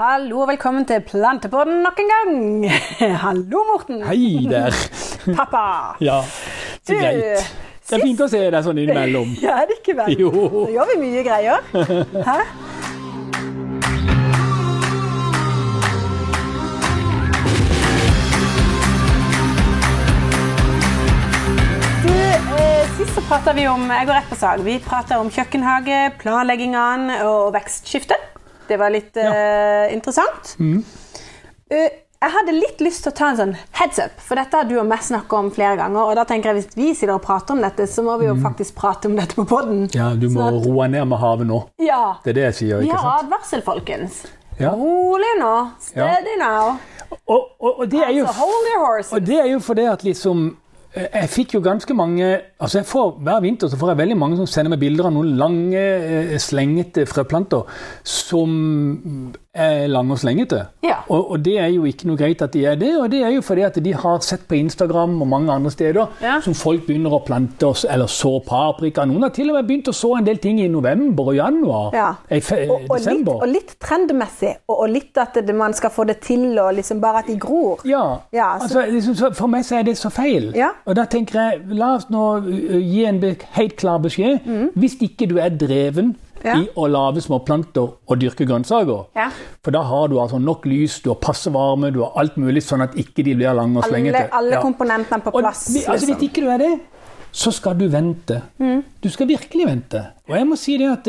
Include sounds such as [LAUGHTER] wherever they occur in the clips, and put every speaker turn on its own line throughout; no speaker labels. Hallo og velkommen til Plantepodden nok en gang. [LAUGHS] Hallo, Morten.
Hei der!
Pappa.
[LAUGHS] Ja, så
Du,
greit. Det er fint å se deg sånn innimellom.
Ja, er det ikke vel?
Jo.
Nå gjør vi mye
[LAUGHS]
greier. Hæ? Du, eh, sist så pratet vi om, jeg går rett på sak, vi pratet om kjøkkenhage, planleggingen og vekstskifte. Det var litt eh, interessant.
Mm.
Eh, jeg hadde litt lyst til å ta en sånn heads up, for dette har du og meg snakket om flere ganger. Og da tenker jeg hvis vi sitter og prater om dette, så må vi jo faktisk prate om dette på podden.
Mm. Ja, Du må
Sånn at-
roe ned med havet nå.
Ja.
Det er det jeg sier,
Vi
ikke
har
sant?
advarsel, folkens.
Ja.
Rolig nå.
Ja.
Steady now.
Og, og, og det er jo
Så hold your horse.
Og det er jo fordi at liksom eh, jeg fikk jo ganske mange altså jeg får, Hver vinter så får jeg veldig mange som sender meg bilder av noen lange, eh, slengete frøplanter som er lange og slengete.
Ja.
Og, og det er jo ikke noe greit at de er det, og det er jo fordi at de har sett på Instagram og mange andre steder
Ja.
som folk begynner å plante og s- eller så paprika. Noen har til og med begynt å så en del ting i november og januar.
Ja.
Eh, fe-
Og, og, litt,
desember.
og litt trendmessig, og, og litt at det, man skal få det til, og liksom bare at de gror.
Ja.
Ja, så-
altså, liksom, så for meg så er det så feil.
Ja.
Og da tenker jeg, la oss nå ø, gi en be- helt klar beskjed. Hvis ikke du er
Mm.
dreven
Ja.
i å lage små planter og dyrke grønnsaker,
Ja.
for da har du altså nok lys, du har passe varme, du har alt mulig, sånn at ikke de blir lange og
Alle,
slengete.
alle
Ja.
komponentene på
Og
plass. liksom.
vi- altså, Hvis ikke du er det, så skal du vente.
Mm.
Du skal virkelig vente. Og jeg må si det at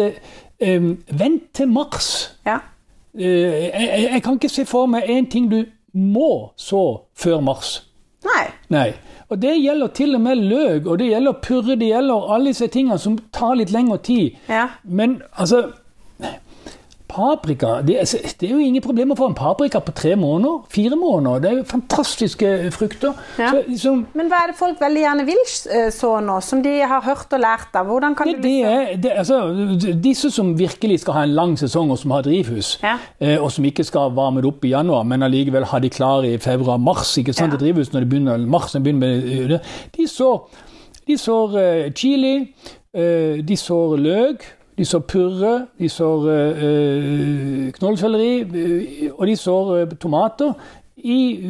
eh, um, vent til mars.
Ja.
Eh, jeg, jeg- jeg kan ikke se for meg én ting du må så før mars.
Nei.
Nei. Og det gjelder til og med løk, og det gjelder purre, det gjelder alle disse tingene som tar litt lengre tid.
Ja.
Men altså Paprika det, er- det er jo ingen problem å få en paprika på tre måneder. Fire måneder. Det er jo fantastiske frukter.
Ja.
Så liksom
Men hva er det folk veldig gjerne vil eh, så nå, som de har hørt og lært av? Hvordan kan
Ja,
du
det
liksom-
er, det, altså, disse som virkelig skal ha en lang sesong, og som har drivhus,
Ja.
eh, og som ikke skal varme det opp i januar, men allikevel ha de klare i februar-mars ikke sant,
Ja.
til drivhus når det begynner, mars, når det begynner med eh, det, de sår, de sår eh, chili, eh, de sår løk, de sår purre, de sår eh, eh, knollselleri, eh, og de sår eh, tomater. I,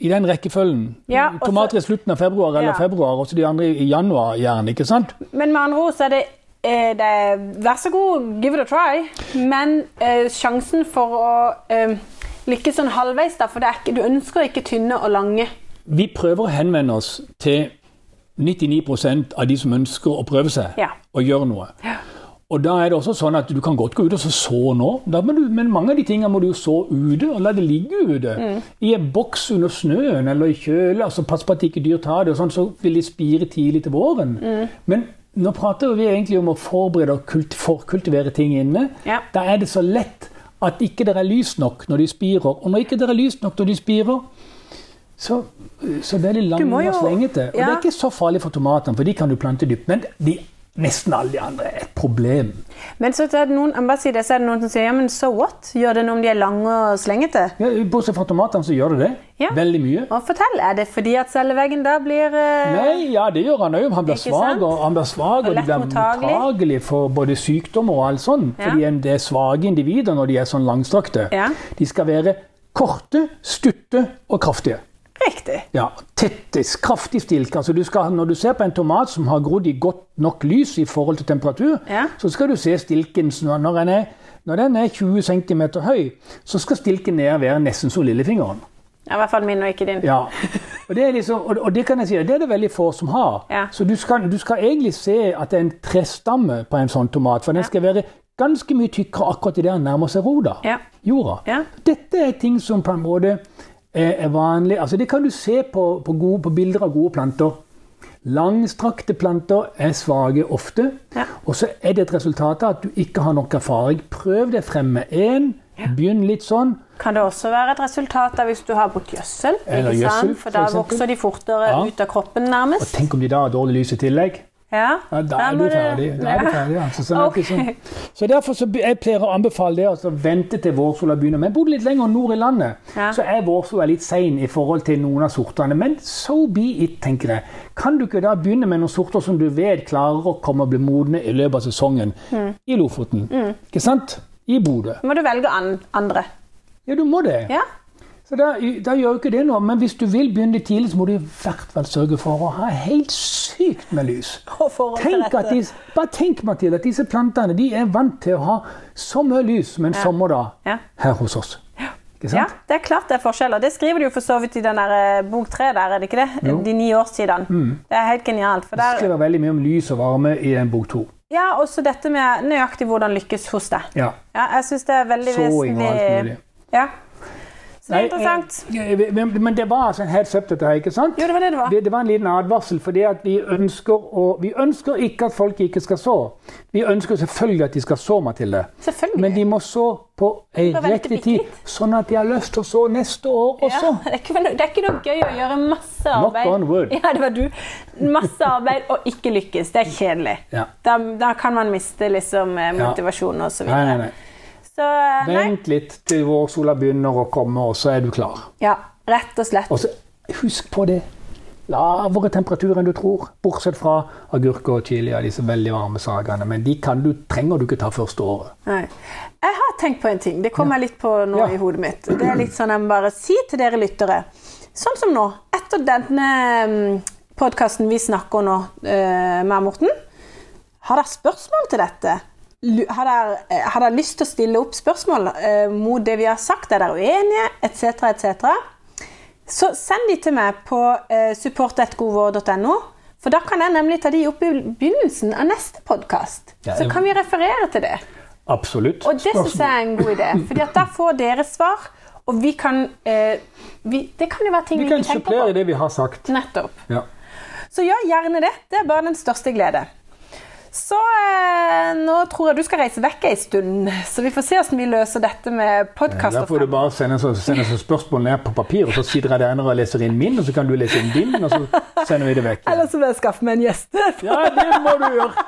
I den rekkefølgen.
Ja, og så-
Tomater i slutten av februar eller
Ja.
februar, og så de andre i januar gjerne. ikke sant?
Men med andre ord så er det, eh, det er, Vær så god, give it a try. Men eh, sjansen for å eh, lykkes sånn halvveis, da, for det er ikke, du ønsker ikke tynne og lange.
Vi prøver å henvende oss til 99 av de som ønsker å prøve seg
Ja.
og gjøre noe. Og da er det også sånn at Du kan godt gå ut og så så nå, da må du, men mange av de tingene må du jo så ute og la det ligge ute.
Mm.
I en boks under snøen eller i kjøle. altså Pass på at ikke dyr tar det, og sånn, så vil de spire tidlig til våren.
Mm.
Men nå prater vi egentlig om å forberede og kult, forkultivere ting inne.
Ja.
Da er det så lett at ikke det er lys nok når de spirer. Og når ikke det er lys nok når de spirer, så, så det er litt
Du
lange
må jo-
og slengete. Og det
Ja.
er ikke så farlig for tomatene, for de kan du plante dypt. Men de, nesten alle de andre er et problem.
Men så er det noen, jeg må bare si det, så er det noen som sier ja, men so what? Gjør det noe om de er lange og slengete?
Ja, bortsett fra tomatene, så gjør det det.
Ja.
Veldig mye.
Og fortell, er det fordi at celleveggen da blir eh,
Nei, ja, det gjør han òg. Han blir
Ikke sant?
svak, og, han blir svag,
Og
og, de
lett
blir
mottagelig.
mottagelig for både sykdommer og alt sånn.
Ja.
Fordi en- det er svake individer når de er sånn langstrakte.
Ja.
De skal være korte, stutte og kraftige.
Riktig.
Ja, tettis, kraftig stilk. Altså du skal, når du ser på en tomat som har grodd i godt nok lys i forhold til temperatur,
Ja.
så skal du se stilken s- når når den er, når den er 20 cm høy, så skal stilken ned være nesten som lillefingeren.
Ja, I hvert fall min og ikke din.
Ja. Og det, er liksom, og, og det kan jeg si, det er det veldig få som har.
Ja.
Så du skal, du skal egentlig se at det er en trestamme på en sånn tomat, for den skal være ganske mye tykkere akkurat idet den nærmer seg roda
Ja.
jorda.
Ja.
Dette er ting som på en måte eh, er vanlig. Altså, det kan du se på, på, gode, på bilder av gode planter. Langstrakte planter er svake ofte.
Ja.
Og så er det et resultat av at du ikke har nok erfaring. Prøv deg frem med én. Begynn litt sånn.
Kan det også være et resultat av hvis du har brukt gjødsel?
Eller
ikke sant?
gjødsel,
For da
for eksempel.
vokser de fortere
Ja.
ut av kroppen, nærmest.
Tenk om de da har dårlig lys i tillegg.
Ja,
Ja, da
der
er
må
du ferdig. Da er du
Ja.
ferdig altså. sånn at
Ok.
liksom- Så derfor så be- jeg pleier å anbefale det altså, vente til vårsola begynner. Men jeg bodde litt lenger nord i landet,
Ja.
så er vårsola litt sein i forhold til noen av sortene. Men so be it, tenker jeg. Kan du ikke da begynne med noen sorter som du vet klarer å komme og bli modne i løpet av
Mm.
sesongen? I Lofoten. Ikke sant? I Bodø.
Da må du velge an andre.
Ja, du må det.
Ja.
Så da, da gjør jo ikke det noe, men hvis du vil begynne tidlig, så må du i hvert fall sørge for å ha helt sykt med lys.
Og forhold til
Tenk at
rette.
de, bare tenk, Mathilde, at disse plantene de er vant til å ha så mye lys som en sommerdag
Ja.
her hos oss. Ikke
Ja,
sant?
det er klart det er forskjeller. Det skriver du jo for så vidt i den der eh, bok tre der, er det ikke det? De ni årstidene.
Mm.
Det er helt genialt. For
Det
der,
skriver veldig mye om lys og varme i en bok to.
ja, også dette med nøyaktig hvordan lykkes hos deg.
Ja.
Ja, jeg syns det er veldig
Såing og alt
vesentlig.
mulig.
Ja. Så det
Nei,
er interessant.
eh, eh, Men men det var altså en helt søpt dette her, ikke sant?
Jo, det var det det var.
Det, det var en liten advarsel, fordi at vi ønsker, å, vi ønsker ikke at folk ikke skal så. Vi ønsker selvfølgelig at de skal så, Mathilde.
Selvfølgelig.
Men de må så på ei
må vente
riktig
bitte
tid,
litt.
sånn at de har lyst til å så neste år
Ja,
også.
[LAUGHS] det, er ikke, noe- det er ikke noe gøy å gjøre masse arbeid.
on
[LAUGHS]
wood.
Ja, det var du. Masse arbeid og ikke lykkes. Det er kjedelig.
Ja.
Da, da kan man miste liksom, eh, motivasjon og så
Nei,
videre.
nei, nei.
Så eh, nei.
Vent litt til vårsola begynner å komme, og så er du klar.
Ja, rett og slett.
Og så husk på det. Lavere temperatur enn du tror, bortsett fra agurker og chili og disse veldig varme sagene. Men de kan du, trenger du ikke ta første året.
Nei. Jeg har tenkt på en ting. Det kom jeg litt på nå
Ja.
i hodet mitt. Det er litt sånn jeg må bare si til dere lyttere. Sånn som nå. Etter denne podkasten vi snakker nå eh, med Morten, har dere spørsmål til dette? Lu- Har dere, eh, har dere lyst til å stille opp spørsmål eh, mot det vi har sagt? Er dere uenige? Etc., etc. Så send de til meg på eh, support.godvår.no, for da kan jeg nemlig ta de opp i begynnelsen av neste podkast.
Ja,
Så
jeg-
kan vi referere til det.
Absolutt.
Og det syns jeg er en god idé, fordi at da får dere svar, og vi kan eh, vi, Det kan jo være ting vi,
Vi kan
ikke tenker
supplere
på.
det vi har sagt.
Nettopp.
Ja.
Så gjør gjerne det. Det er bare den største glede. Så eh, nå tror jeg du skal reise vekk ei stund, så vi får se hvordan vi løser dette med
Da
podkast.
får du bare sende så, sende så spørsmål ned på papir, og så sitter jeg der nede og leser inn min, og så kan du lese inn din, og så sender vi det vekk.
Eller så må jeg skaffe meg en [LAUGHS] gjest.
Ja, det må du gjøre!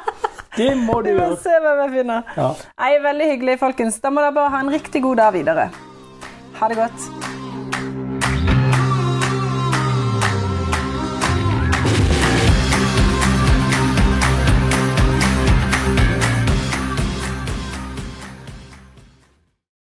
Det må du
Vi må
gjøre.
se hvem jeg finner.
Ja.
Nei, veldig hyggelig, folkens. Da må dere bare ha en riktig god dag videre. Ha det godt.